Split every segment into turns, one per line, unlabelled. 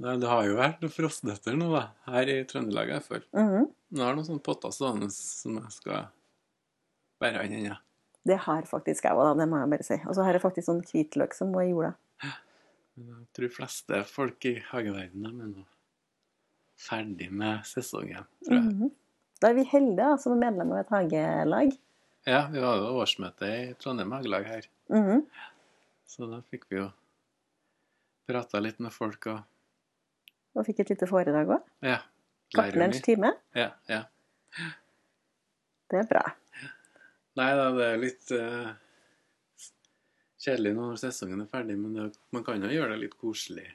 Nei, det har jo vært noen frostnøtter nå, da. Her i Trøndelag i hvert fall.
Mhm.
Nå har jeg noen sånne potter stående som jeg skal bære inn ennå.
Det har faktisk jeg òg, det må jeg bare si. Og så har jeg faktisk sånn hvitløk som må i jorda.
Men Jeg tror fleste folk i hageverdenen er nå ferdig med sesongen, tror jeg.
Mhm. Da er vi heldige da, som er medlem av et hagelag.
Ja, vi har jo årsmøte i Trondheim Hagelag her.
Mhm.
Så da fikk vi jo prata litt med folk og
Og fikk et lite foredrag òg.
ja. lærer mye.
Gartnerens time.
Ja, ja.
Det er bra.
Nei da, det er litt eh, kjedelig nå når sesongen er ferdig, men det, man kan jo gjøre det litt koselig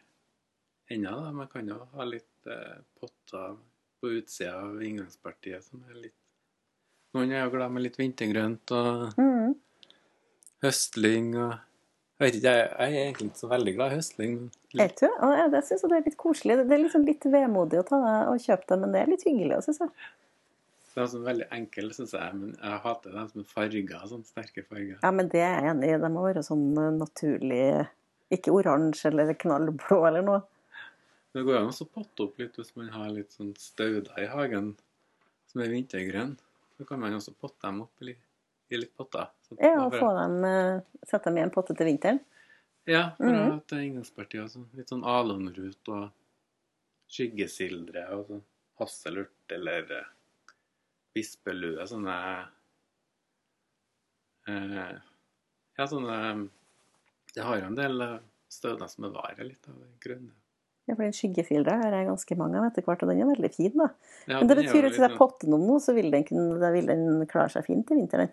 ennå. da. Man kan jo ha litt eh, potter på utsida av inngangspartiet som er litt Noen er jo glad med litt vintergrønt og
Mhm.
høstling og Jeg vet ikke, jeg, jeg er egentlig ikke så veldig glad i høstling, men
Vet du? Og jeg, jeg synes det er litt koselig. Det er liksom litt vemodig å ta det og kjøpe det, men det er litt hyggelig òg, syns jeg.
det er sånn veldig enkel, syns jeg. Men jeg hater dem som er farger, sånn sterke farger.
Ja, men det er jeg enig i. Det må være sånn eh, naturlig Ikke oransje eller knallblå eller noe.
Det går an å potte opp litt hvis man har litt sånn stauder i hagen som er vintergrønn. Så kan man også potte dem opp i, litt- i litt potter. Så
Ja,
bare-
og få dem, eh, sette dem i en potte til vinteren.
Ja, for
Mhm.
at det er inngangspartiet også. Litt sånn alonrut og skyggesildre og sånn hasselurt eller eh, bispelue. Sånne eh, Ja, sånne eh, Det har jo en del eh, stauder som bevarer litt av det grønne.
Ja, for den skyggefilra har jeg ganske mange av etter hvert, og den er veldig fin, da.
Ja,
Men det
den er jo
betyr at hvis
litt
jeg
sånn-
potter den om nå, så vil den, kunne, da vil den klare seg fint til vinteren.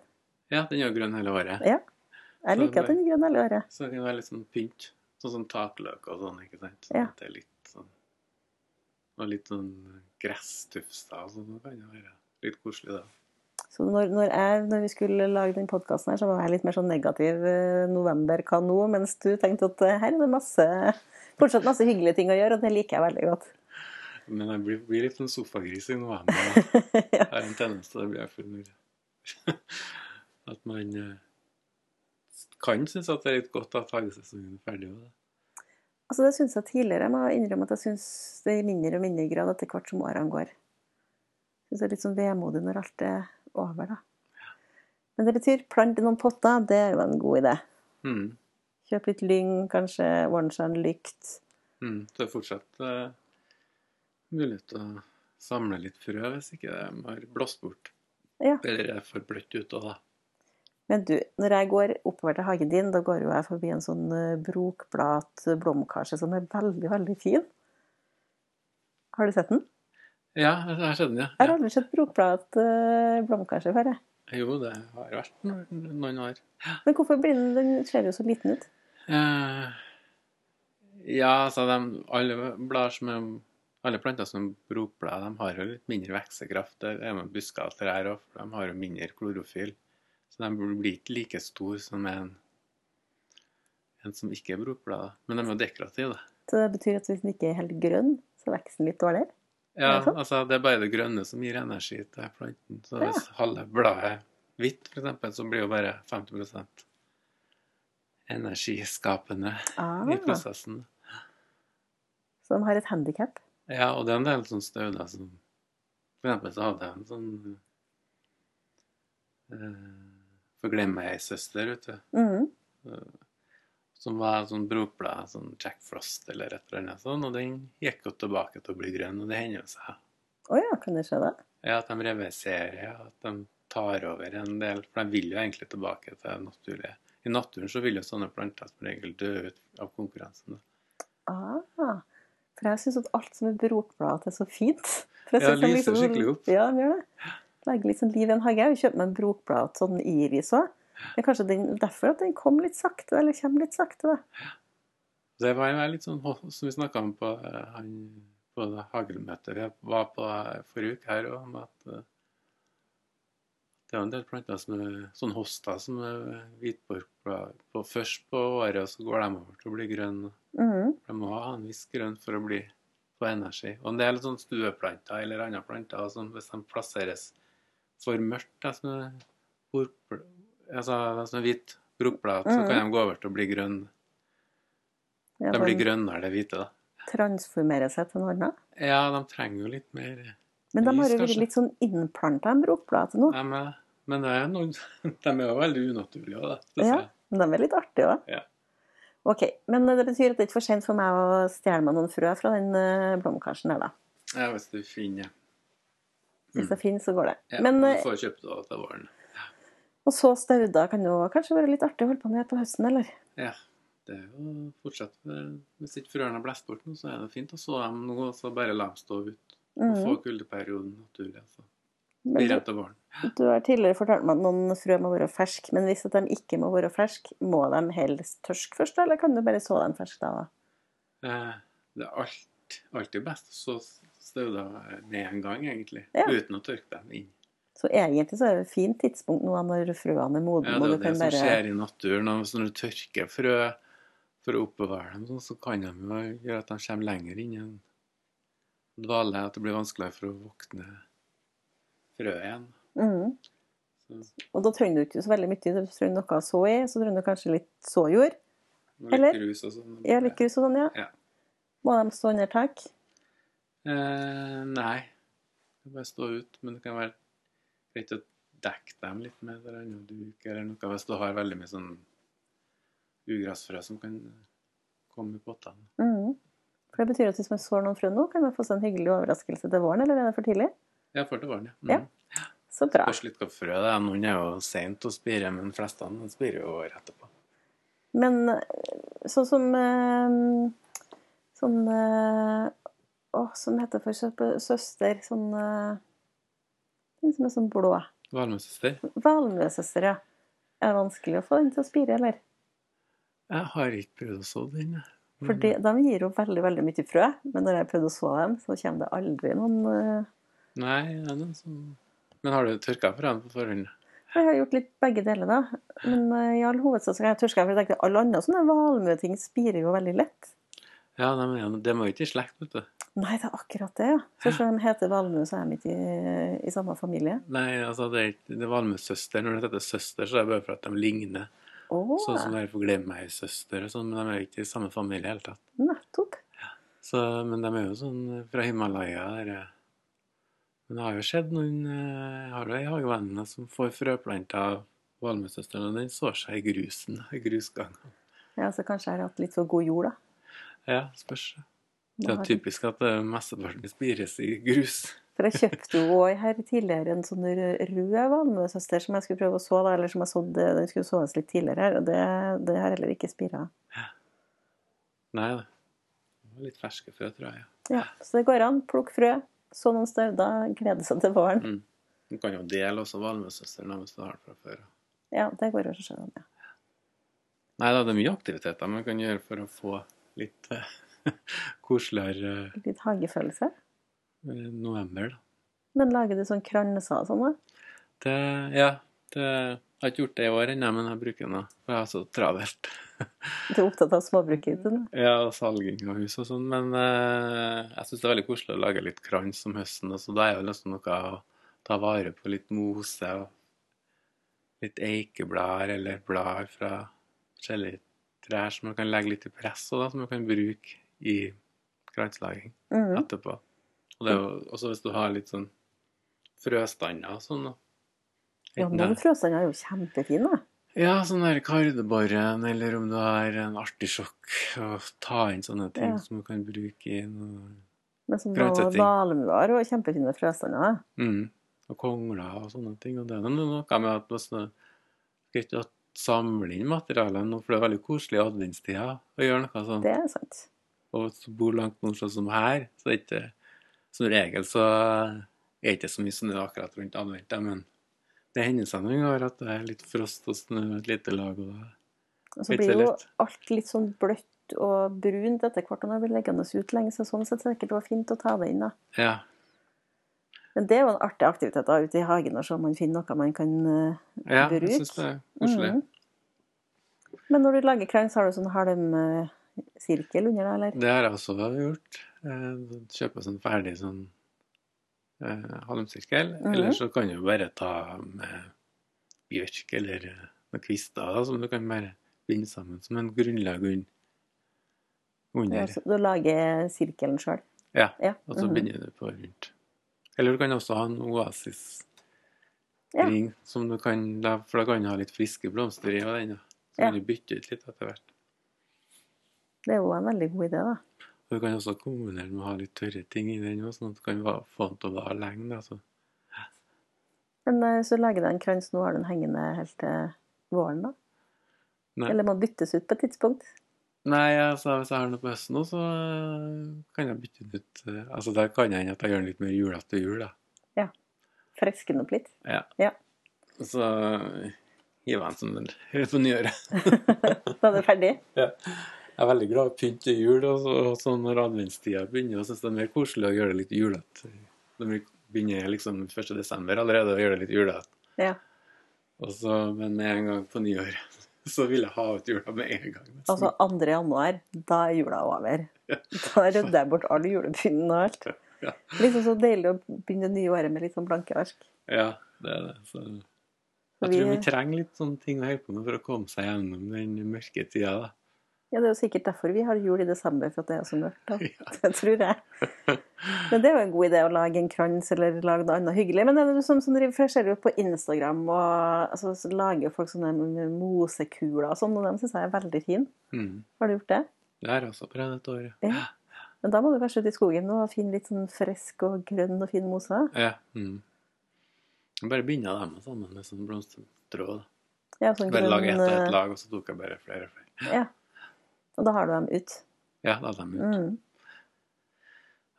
Ja, den er jo grønn hele året.
Jeg liker at den er grønn hele året.
Så det kan være litt sånn pynt. Sånn som takløk og sånn, ikke sant? Sånn
Ja.
at det er litt sånn Og litt sånn gresstufster og sånn. Det kan jo være litt koselig, da.
Så når, når, jeg, når vi skulle lage den podkasten her, så var jeg litt mer sånn negativ eh, november kan nå, mens du tenkte at eh, her er det masse, fortsatt masse hyggelige ting å gjøre, og det liker jeg veldig godt.
Men jeg blir, blir litt sånn sofagris i november. da.
Ja.
Jeg har en tendens til å bli for mye. At man eh, kan synes at det er litt godt at hagesesongen er ferdig. Med det.
Altså Det syns jeg tidligere. Jeg må innrømme at jeg syns det i mindre og mindre grad etter hvert som årene går. Syns det er litt sånn vemodig når alt er over, da. Men det betyr plant i noen potter. Det er jo en god idé.
Mm.
Kjøp litt lyng, kanskje ordne seg en lykt.
Mm. Så det er fortsatt eh, mulighet til å samle litt frø hvis ikke de har blåst bort.
Ja.
Eller er for bløtt ute òg, da.
Men du, når jeg går oppover til hagen din, da går jo jeg forbi en sånn eh, brokblat blomkarse som er veldig, veldig fin. Har du sett den?
Ja, jeg har sett den, ja.
Jeg har aldri sett brokblat eh, blomkarse før, jeg.
Jo, det har vært no- noen år.
Men hvorfor blir den Den ser jo så liten ut.
Eh, ja, så de, alle blader som er alle planter som er brokblad, de har jo litt mindre veksekraft. Det er med busker og trær òg, for de har jo mindre klorofyll. Så de blir ikke like store som en, en som ikke er brokblad. da. Men de er jo dekorative, da.
Så det betyr at hvis den ikke er helt grønn, så er veksten litt dårligere.
Ja,
Er det sant?
altså det er bare det grønne som gir energi til planten. Så
Ja.
hvis halve bladet er hvitt, for eksempel, så blir jo bare 50 energiskapende
Ah,
i prosessen.
så de har et handikap.
Ja, og det er en del sånn stauder som For eksempel så hadde jeg en sånn eh, Forglemme ei søster, vet du.
Mm.
Som var en sånn brokblad, sånn Jack Frost eller et eller annet sånn, og den gikk jo tilbake til å bli grønn, og det hender jo seg.
Å ja, kan det skje det?
Ja, at de reverserer, at de tar over en del. For de vil jo egentlig tilbake til det naturlige. I naturen så vil jo sånne planter som regel dø ut av konkurransen. da.
Ah, for jeg syns at alt som er brokbladete, er så fint. For jeg
Ja,
synes de
lyser skikkelig opp.
sånn- Ja, de gjør det. Legger litt sånn liv i en hage. Jeg kjøper meg en brokbladet sånn iris òg. Det er kanskje den, derfor at den kom litt sakte, eller kommer litt sakte. da.
Det var jeg litt sånn, som vi snakka om på, eh, han, på det hagelmøtet vi var på eh, forrige uke her, om at eh, det er jo en del planter som er sånn hosta som er hvitborkblad på først på året, og så går de over til å bli grønne.
Mhm.
De må ha en viss grønn for å bli få energi. Og en del sånn stueplanter eller andre planter som hvis de plasseres for mørkt, da, som er, borkbl- altså, da, som er hvit brokblad, så kan de gå over til å bli grønne.
Mm. Ja, sånn.
De blir
de
grønnere, det hvite, da.
transformerer seg til noe annet.
Ja, de trenger jo litt mer.
Men de
Lys,
har jo vært
kanskje.
litt sånn innplanta en brokblad til nå.
Nei, men, men det er noen, de er jo veldig unaturlige òg, da. synes
Ja.
jeg.
Men de er litt artige òg.
Ja.
Ok, men det betyr at det er ikke for sent for meg å stjele meg noen frø fra den eh, blomkarsen der, da.
Ja, hvis du finner
Hvis
Mm.
det finnes, så går det.
ja,
men,
Du
eh,
får kjøpt det til våren.
og så stauder kan jo kanskje være litt artig å holde på med på høsten, eller?
Ja. Det er jo fortsatt eh, Hvis ikke frøene er blåst bort nå, så er det fint å så dem nå, og så bare la dem stå ut. Og få
Mhm.
kuldeperioden naturlig. Altså.
Men
Blir
du,
det til våren.
du har tidligere fortalt meg at noen frø må være ferske, men hvis at de ikke må være ferske, må de helst tørske først, eller kan du bare så dem ferske da? da?
Eh, Det er alt, alltid best å så stauda med en gang, egentlig.
Ja.
Uten å tørke dem inn.
Så egentlig så er det et fint tidspunkt nå når frøene er modne,
Ja, det
og
er
du
jo det
kan
som
bare
skjer i naturen. og Hvis når du tørker frø for å oppbevare dem, sånn, så kan de jo gjøre at de kommer lenger inn i en dvale. At det blir vanskeligere for å våkne frøet igjen.
Mhm.
Så,
Og da trenger du ikke så veldig mye. Du trenger noe å så i, så trenger du kanskje litt såjord.
og litt
Eller?
Rus og sånn.
Ja, litt grus og sånn, ja.
Ja.
Må de stå under tak?
Eh, nei. Det kan bare stå ut. Men det kan være greit å dekke dem litt med eller annen duk eller noe hvis du har veldig mye sånn ugressfrø som kan komme i pottene.
Mhm. For det betyr at hvis man sår noen frø nå, kan man få seg en hyggelig overraskelse til våren, eller er det for tidlig?
Ja, for til våren, ja.
Ja. Så bra.
Spørs litt hva frø det er. Noen er jo seint å spire, men de fleste de spirer jo året etterpå.
Men eh, sånn som eh, Sånn eh, Å, som heter for sø- søster Sånn eh, Den som er sånn blå.
Valmuesøster?
Valmuesøster, ja. Er det vanskelig å få den til å spire, eller?
Jeg har ikke prøvd å så den. jeg. Mm. Men
For de, de gir jo veldig veldig mye frø, men når jeg prøvde å så dem, så kommer det aldri noen eh,
Nei, det er noen som Men har du tørka frøene på forhånd?
Jeg har gjort litt begge deler, da. Men eh, i all hovedsak så kan jeg tørske, for jeg tenkte alle andre sånne valmueting spirer jo veldig lett.
Ja, nei, men ja, det må jo ikke i slekt, vet du.
Nei, det er akkurat det, ja. For selv om de heter valmue, så er de ikke eh, i, i samme familie.
Nei, altså, det er ikke det er valmuesøster. Når det heter søster, så er det bare for at de ligner.
Å,
Sånn som det er for glemmeigsøster og sånn, men de er jo ikke i samme familie i det hele tatt.
nettopp.
Så, men de er jo sånn fra Himalaya. Der. eh. Men det har jo skjedd noen eh, Jeg har jo ei hagevenninne som får frøplanter av valmuesøsteren, og den sår seg i grusen. I grusgangen.
Ja, så kanskje jeg har hatt litt for god jord, da.
Ja, spørs. Det er
Nå
jo
har-
typisk at eh, mesteparten spires i grus.
For jeg kjøpte jo også her tidligere en sånn rød rød valmuesøster som jeg skulle prøve å så, da, eller som jeg sådde, den skulle såes litt tidligere her, og det, det har heller ikke spira.
Nei da. Det var Litt ferske frø, tror jeg. ja.
Ja, så det går an. Plukk frø, så noen stauder, glede seg til våren.
Mm. Du kan jo dele også valmuesøsteren hvis du har det fra før.
Ja, det går an å skjønne. Ja.
Nei da, det er mye aktiviteter man kan gjøre for å få litt eh, koseligere eh,
Litt hagefølelse.
november, da.
Men lager du sånn kranser og sånn, da?
Det, ja, det, jeg har ikke gjort det i år ennå, men jeg bruker den. da, for Jeg er så travelt.
Du er opptatt av småbruket? du?
Ja, og salging av hus og sånn. Men eh, jeg syns det er veldig koselig å lage litt krans om høsten. og Så da er jo liksom noe å ta vare på. Litt mose og litt eikeblader eller blader fra forskjellige trær som man kan legge litt i press, og da, som man kan bruke i kranslaging
Mhm.
etterpå. Og det er jo også hvis du har litt sånn frøstander og sånn. da.
Ja,
Enten det er-
noen frøstander er jo kjempefine.
Ja, sånn der kardeborren, eller om du har en artisjokk, og ta inn sånne ting
Ja.
som du kan bruke i noe
Men som
Grønnsetting.
valmuer og kjempefine frøstander.
mm. Og kongler og sånne ting. Og det er noe noe med at hvis du skal ikke samle inn materialet nå, for det er veldig koselig i adventstida å gjøre noe sånn. sånt.
Det er sant.
Og hvis du bor langt nord sånn som her, så er det ikke Som regel så er det ikke så mye snø akkurat rundt advent, da, men det hender seg noen ganger at det er litt frost og snø et lite lag, og da
Og så
Litt
blir jo
lett.
alt litt sånn bløtt og brunt etter hvert, og når det blir leggende ut lenge, så sånn sett er det sikkert det var fint å ta det inn, da.
Ja.
Men det er jo en artig aktivitet da, ute i hagen, og se om man finner noe man kan eh,
ja
Bruk.
jeg syns det er koselig.
Mhm. Men når du lager krans, har du sånn halmsirkel under deg, eller?
Det har jeg også gjort. Eh, Kjøpe sånn ferdig sånn eh, halmsirkel.
Mhm.
Eller så kan du bare ta med bjørk eller eh, noen kvister da, som du kan bare binde sammen som en grunnlag un-
Ja,
under.
så Du lager sirkelen sjøl?
Ja,
Ja.
og så
mhm.
binder du på rundt. Eller du kan også ha en oasisring
Ja.
som du kan la, For da kan du ha litt friske blomster i og den. da. Så
Ja.
kan du bytte ut litt etter hvert.
Det er jo en veldig god idé, da.
Og du kan også kombinere med å ha litt tørre ting i den også, sånn at du kan va- få den til å vare lenge. da, så
Men eh, så lager du en krans, nå har du den hengende helt til våren, da?
Nei.
Eller må byttes ut på et tidspunkt?
Nei, altså, hvis jeg har noe på høsten også, så øh, kan jeg bytte den ut. øh, Altså, der kan jeg hende at jeg gjør den litt mer julete til jul, da.
Freske den opp litt?
Og Så øh, hiver jeg den som den rett på nyåret.
Da er det ferdig?
Jeg er veldig glad i pynt til jul, og så, og så når adventstida begynner, og syns det er mer koselig å gjøre det litt julete. Det blir- begynner liksom 1. desember allerede å gjøre det litt julete.
Ja.
Og så- Men med en gang på nyår, så vil jeg ha ut jula med en gang. nesten.
Altså 2. januar, da er jula over. Da rydder jeg bort all julepynten og alt.
Ja.
Liksom så deilig å begynne det nye året med litt sånn blanke ark.
Ja, det er det. Så jeg
Vi-
tror vi trenger litt sånne ting å holde på med for å komme seg gjennom den mørke tida, da.
Ja, det er jo sikkert derfor vi har jul i desember, for at det er så mørkt. da.
Ja.
Det tror jeg. Men det er jo en god idé å lage en krans eller lage noe annet hyggelig. Men det er jo som, som driver, for jeg ser jo på Instagram, og altså, så lager jo folk sånne mosekuler og sånn, og dem syns jeg er veldig fin.
Mm.
Har du gjort det?
Det har jeg også prøvd et år, ja.
Ja. Men da må du kanskje ut i skogen nå og finne litt sånn frisk og grønn og fin mose.
ja. Mm. Jeg bare binda dem sammen med sånn blomstertråd. da.
Ja, sånn
Bare laga ett og
eh,
ett lag, og så tok jeg bare flere og flere.
Ja. Og da har du dem ut.
Ja, da hadde de,
Mm.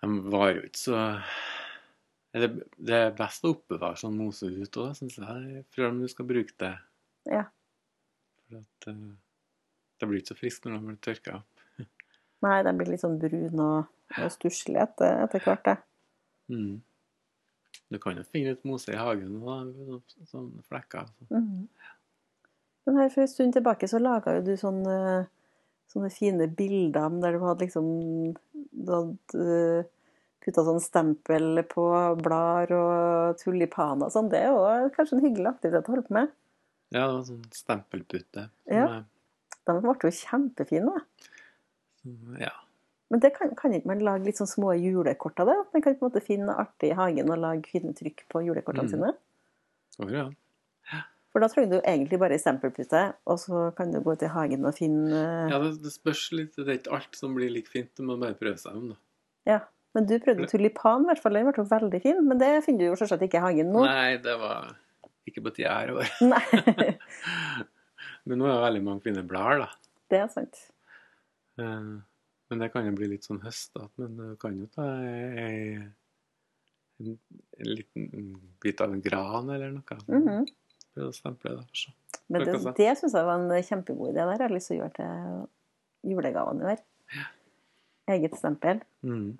de var jo ikke så Eller Det er best å oppbevare sånn mose ut òg, syns jeg, før om du skal bruke det.
Ja.
For at eh, det blir ikke så friskt når de blir tørka.
Nei, de blir litt sånn brun og, og stusslig etter, etter hvert. det.
Mm. Du kan jo finne litt mose i hagen og sånne flekker. altså. Så.
Mhm. Men her for en stund tilbake så laga jo du sånne, sånne fine bilder men der du hadde liksom Du hadde putta sånn stempel på blader og tulipaner og sånn. Det er jo kanskje en hyggelig aktivitet å holde på med.
Ja, det var sånn stempelpute. som
Ja.
jeg-
De ble jo kjempefine. da.
som- ja.
Men det kan, kan ikke man lage litt sånn små julekort av det? At man kan på en måte finne noe artig i hagen og lage fine trykk på julekortene
Mhm.
sine?
Går jo an.
For da trenger du egentlig bare ei stempelpute, og så kan du gå ut i hagen og finne eh,
Ja, det, det spørs litt. Det er ikke alt som blir like fint. Du må bare prøve seg om, da.
Ja, men du prøvde tulipan, i hvert fall. Den ble jo veldig fin, men det finner du jo selvsagt ikke i hagen nå.
Nei, det var ikke på tida her i år.
Nei.
Men nå er det veldig mange fine blader, da.
Det er sant.
Eh, Men det kan jo bli litt sånn høstete. Men du kan jo ta ei en, en liten bit av en gran eller noe.
Mhm.
Prøve å stemple det. altså. for så.
Men det,
Akkurat
det syns jeg var en kjempegod idé. der. Jeg har lyst til å gjøre til julegavene i år. Eget stempel.
Mhm.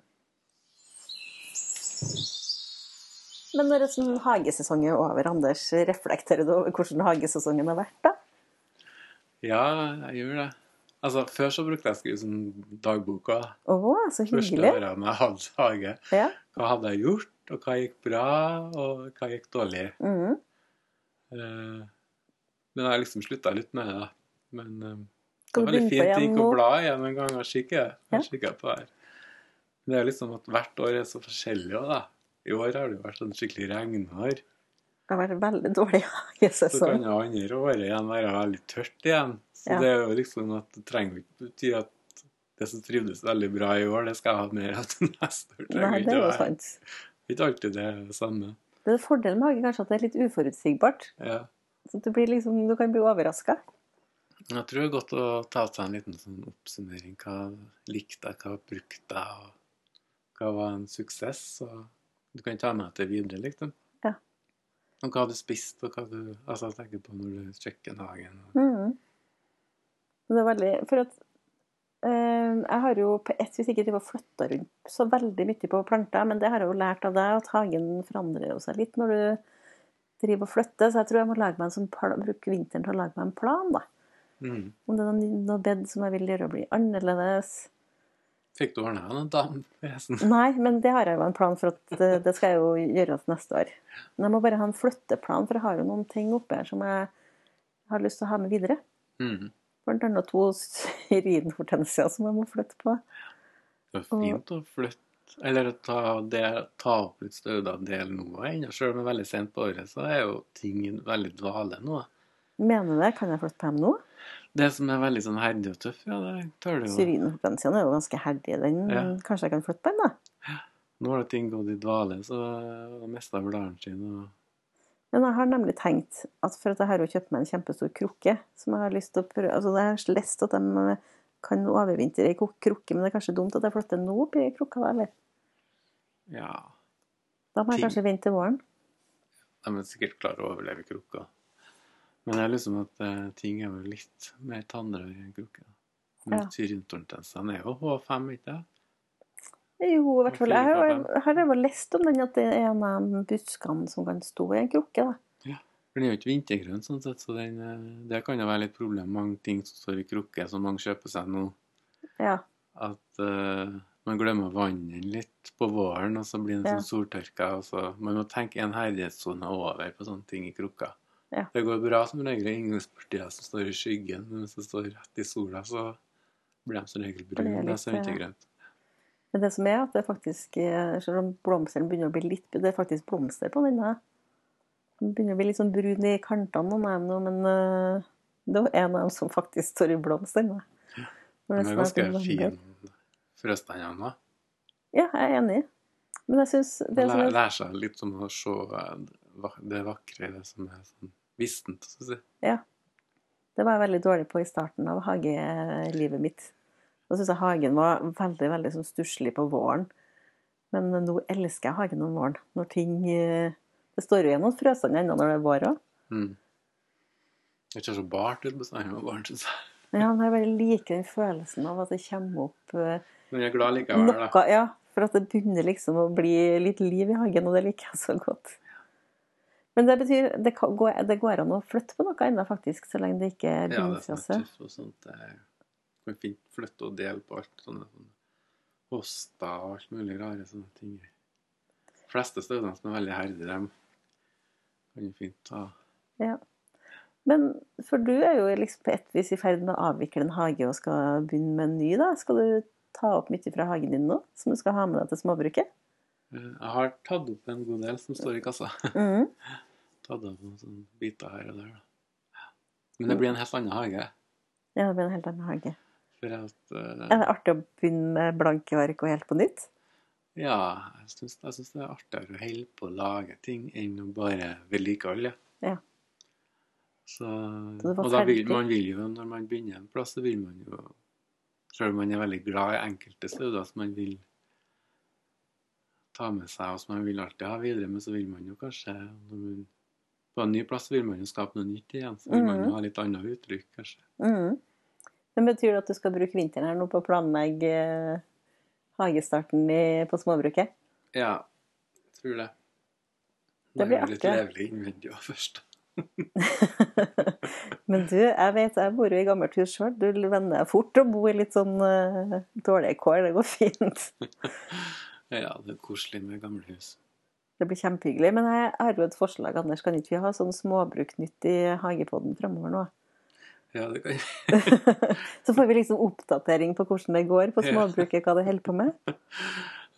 Men når sånn hagesesong er over, Anders, reflekterer du over hvordan hagesesongen har vært? da?
Ja, jeg gjør det. Altså, Før så brukte jeg å skrive sånn dagboka. da.
Å, så
Første
hyggelig.
året jeg hadde hage.
Ja.
Hva hadde jeg gjort, og hva gikk bra, og hva gikk dårlig?
Mhm.
Eh, Men jeg har liksom slutta litt med det. da. Men eh, det
Skal
er
du
veldig
begynne på
fint
igjen
ting å
nå?
bla igjen en gang og kikke.
Ja.
Jeg kikker på det her. Men Det er liksom at hvert år er så forskjellig òg, da. I år har det jo vært sånn skikkelig regnår.
Det har vært veldig dårlig
Så kan
hagesesong.
jo andre året igjen være veldig tørt igjen. Så
Ja.
det er jo liksom at det trenger jo ikke bety at det som trivdes veldig bra i år, det skal jeg ha mer av til neste år.
Nei, det er jo
være.
sant.
Ikke alltid det er det samme.
Det er Fordelen med hage kanskje at det er litt uforutsigbart.
Ja.
Så du, blir liksom, du kan bli overraska.
Men Jeg tror det er godt å ta seg en liten sånn oppsummering. Hva likte jeg, hva brukte jeg, og hva var en suksess? Og du kan ta med deg det videre, liksom.
Ja.
Og hva du spiste, og hva du altså, jeg tenker på når du sjekker hagen. og-
Mhm. Men Mm. det er veldig For at eh, jeg har jo på ett vis ikke flytta rundt så veldig mye på planter, men det har jeg jo lært av deg, at hagen forandrer jo seg litt når du driver og flytter. Så jeg tror jeg må lage meg en sånn plan, bruke vinteren til å lage meg en plan, da.
Mm.
Om det er noe, noe bed som jeg vil gjøre blir annerledes.
Fikk du ordna noen dam, forresten?
Nei, men det har jeg jo en plan for at eh, det skal jeg jo gjøre til neste år. Men jeg må bare ha en flytteplan, for jeg har jo noen ting oppe her som jeg har lyst til å ha med videre.
Mm.
Blant annet to syrinhortensiaer som jeg må flytte på.
Det var fint å flytte Eller å ta, det, ta opp litt stauder del nå ennå, sjøl om det er veldig sent på året, så er jo ting veldig dvale nå. da.
Mener du det? Kan jeg flytte på dem nå?
Det som er veldig sånn herdig og tøff, ja, det tør du jo.
Syrinhortensiaen er jo ganske herdig. Den,
Ja.
Kanskje jeg kan flytte på den, da?
Nå har det ting gått i dvale, så har mista bladene sine og
Men jeg har nemlig tenkt at for at jeg har jo kjøpt meg en kjempestor krukke som jeg har lyst til å prøve Altså, jeg har lest at de kan overvintre i kok- krukke, men det er kanskje dumt at jeg flytter nå opp i krukka, da, eller?
Ja.
Da må jeg
Ting.
kanskje vente til våren.
De er sikkert klare å overleve i krukka. Men det er liksom at eh, ting er jo litt mer tannrøye i en krukke. da. Men
Ja.
syrintortensene er jo H5, ikke det?
Jo, i hvert fall.
fire
Jeg har,
fra
har jeg vel lest om den, at det er en av de buskene som kan stå i en krukke, da.
For den er jo ikke vintergrønn, sånn sett, så den, eh, det kan jo være litt problem. Mange ting som står i krukke, som mange kjøper seg nå.
Ja.
At eh, man glemmer vannet litt på våren, og så blir den
Ja.
sånn soltørka. Og så, man må tenke en herdighetssone over på sånne ting i krukka.
Ja.
Det går bra som regel i inngangspartier som står i skyggen, men hvis det står rett i sola, så blir de som regel
det
brune. Det er
litt,
så
eh,
vintergrønt.
Men det som er at det er faktisk, eh, selv om blomsteren begynner å bli litt, det er faktisk blomster på denne. Den begynner å bli litt sånn brun i kantene, noen av dem nå, men eh, det er en av dem som faktisk står i blomst ennå. Når
Den
det
er
snart
ganske
november.
fin frøstandene. da.
Ja, jeg er enig. Men jeg syns det
Man
som
lærer,
er sånn
lærer seg litt om å se eh, va- det vakre, det som er sånn vistent, så å si.
Det var jeg veldig dårlig på i starten av hagelivet mitt. Da syns jeg hagen var veldig veldig sånn stusslig på våren. Men nå elsker jeg hagen om våren. Når ting eh, Det står jo igjen noen frøsanger ennå når det er vår òg.
Mm. Det ser så bart ut bestandig med barn, syns jeg.
Ja, men jeg bare liker den følelsen av at det kommer opp eh,
Men jeg er glad likevel, da.
noe. Ja, for at det begynner liksom å bli litt liv i hagen, og det liker jeg så godt. Men det betyr det, kan, går, det går an å flytte på noe ennå, faktisk, så lenge det ikke er
Ja, det som er
bindfrøse.
tøft og sånt, det er kan fint flytte og dele på alt sånne, sånne hoster og alt mulig rare sånne ting. De fleste stedene som er veldig herdige, dem kan jo fint ta
Men for du er jo liksom på et vis i ferd med å avvikle en hage og skal begynne med en ny, da. Skal du ta opp mye fra hagen din nå, som du skal ha med deg til småbruket?
Eh, Jeg har tatt opp en god del som står i kassa.
Mhm.
Tatt opp noen sånne biter her og der, da. Men det blir en helt annen hage.
Ja, det blir en helt annen hage.
For at eh,
Er det artig å begynne med blanke ark og helt på nytt?
Ja, jeg syns, jeg syns det er artigere å holde på å lage ting enn å bare vedlikeholde.
Ja.
Så,
Så det var
og da vil
ferdig.
man vil jo, når man begynner en plass, så vil man jo Selv om man er veldig glad i enkelte steder som man vil ta med seg, og som man vil alltid ha videre, men så vil man jo kanskje når man, På en ny plass vil man jo skape noe nytt igjen, så vil man
Mhm.
jo ha litt annet uttrykk, kanskje.
Mhm. Men betyr det at du skal bruke vinteren her nå på å planlegge eh, hagestarten i, på småbruket?
Ja, jeg tror det.
Det blir
er jo litt
artig.
levelig innvendig også først.
Men du, jeg vet, jeg bor jo i gammelt hus sjøl. Du venner deg fort å bo i litt sånn eh, dårlige kår. Det går fint.
Ja, det er koselig med gamle hus.
Det blir kjempehyggelig. Men jeg har jo et forslag, Anders. Kan ikke vi ha sånn småbruknytt i hagepodden framover nå?
Ja, det kan
Så får vi liksom oppdatering på hvordan det går på
Ja.
småbruket, hva det holder på med.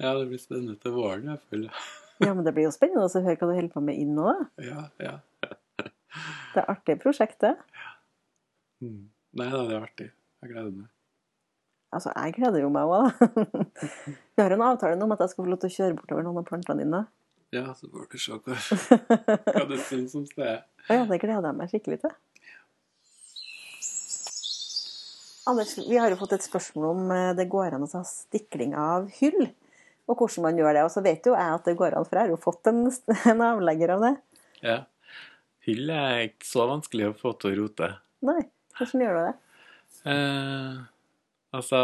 Ja, det blir spennende til våren, i hvert fall.
Ja, men det blir jo spennende også å høre hva det holder på med inn nå, da.
Ja, ja.
Det er artige prosjektet.
Mm. Nei da, det er artig. Jeg gleder meg.
Altså, jeg gleder jo meg òg, da. Vi har en avtale nå om at jeg skal få lov til å kjøre bortover noen av plantene dine.
Ja, så får du se hva, hva du syns om stedet.
Å ja, det gleder jeg meg skikkelig til. Anders, vi har jo fått et spørsmål om eh, det går an å ta stikling av hyll, og hvordan man gjør det. Og så vet jo jeg at det går an, for jeg har jo fått en, en avlegger av det.
Ja. Hyll er ikke så vanskelig å få til å rote.
Nei, hvordan gjør du det?
Eh, altså,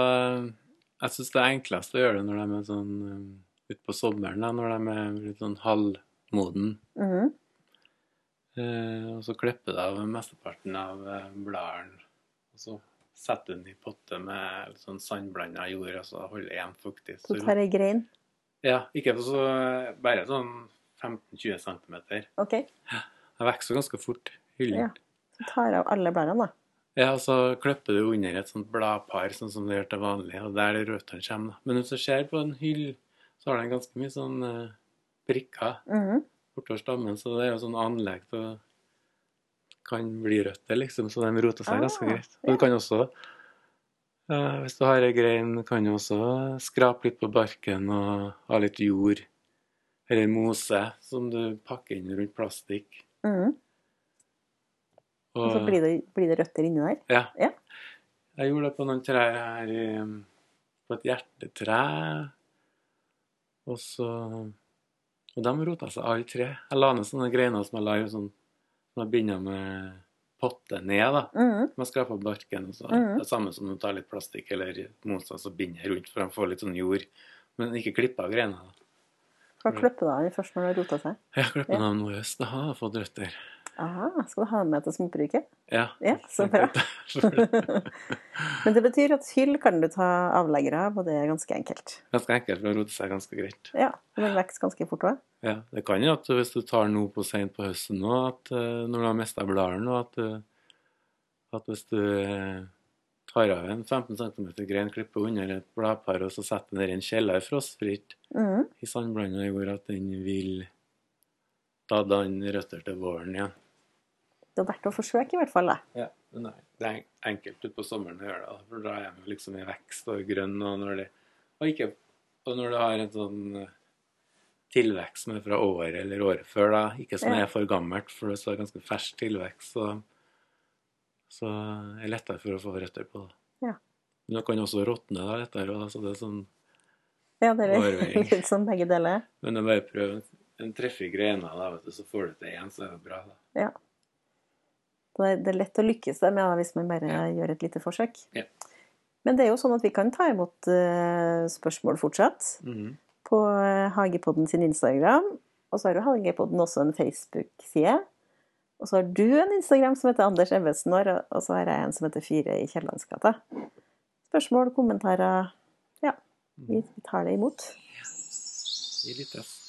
jeg syns det er enklest å gjøre det når de er sånn eh, ut på sommeren, da, når de er litt sånn halvmoden.
Mhm.
Eh, og så klipper du av mesteparten av eh, bladene. Og så setter du den i potte med litt sånn sandblanda jord, og så holder én fuktig.
Så
Så,
tar jeg grein.
ja, ikke så, bare sånn 15-20 cm.
OK.
Den vokser ganske fort. Hyllen.
Ja. Så tar jeg av alle bladene, da.
Ja, og så klipper du under et sånt bladpar, sånn som du gjør til vanlig, og der det røttene kommer. da. Men hvis du ser på en hyll, så har den ganske mye sånn eh, prikker
Mhm.
bortover stammen, så det er jo sånn anlegg til å- kan bli røtter, liksom, så de roter seg
Ah,
ganske greit. Og
ja.
du kan også, eh, hvis du har ei grein, kan du også skrape litt på barken og ha litt jord eller mose som du pakker inn rundt plastikk.
Mhm. Og så blir det, blir det røtter inni der.
Ja.
Ja.
Jeg gjorde det på noen trær her i, um, På et hjertetre. Og så Og de rota seg alle tre. Jeg la ned sånne greiner som jeg la i sånn Som jeg binda med potte ned, da.
Mhm.
Som jeg skrapa barken. Og så,
Mhm.
Det samme som du tar litt plastikk eller mose og så binder rundt for å få litt sånn jord. Men ikke klippe av greinene.
Skal klippe deg av først når det har rota seg.
Jeg klipper dem av nå i høst. Da har jeg fått røtter.
Aha, skal du ha den med til småbruket?
Ja.
Ja, så bra. Men det betyr at hyll kan du ta avleggere av, og det er ganske enkelt.
Ganske enkelt for å rote seg ganske greit.
Ja, og den vokser ganske fort òg.
Ja, det kan jo at hvis du tar noe på sent på høsten nå, at eh, når du har mista bladene, og at, eh, at hvis du eh, tar av en 15 cm grein, klipper under et bladpar og så setter den der i en kjeller frostfritt
Mhm.
i sandblanda jord, at den vil da danne røtter til våren igjen.
Det er verdt å forsøke, i hvert fall. da.
Ja, men nei, det er en- enkelt utpå sommeren å gjøre det, for da er den liksom i vekst og grønn, og når det, og ikke, og når du har en sånn eh, tilvekst som er fra året eller året før, da, ikke som
Ja.
er for gammelt, for hvis du har ganske fersk tilvekst, så, så er det lettere for å få røtter på det.
Ja.
Men det kan også råtne da lettere, og da, så det er sånn,
Ja, det er
Overveiing.
litt sånn begge deler.
men det er bare å prøve en, en treff i grena da, vet du, så får du til igjen, så er det bra da.
Det er, det er lett å lykkes der med da, hvis man bare gjør et lite forsøk.
Ja.
Men det er jo sånn at vi kan ta imot eh, spørsmål fortsatt
Mhm.
på eh, Hagepodden sin Instagram. Og så har jo Hagepodden også en Facebook-side. Og så har du en Instagram som heter Anders Ebbesen Aar, og- og så har jeg en som heter Fire i Kiellandsgata. Spørsmål, kommentarer Ja, vi vi tar det imot.
Gi Mm. litt rest.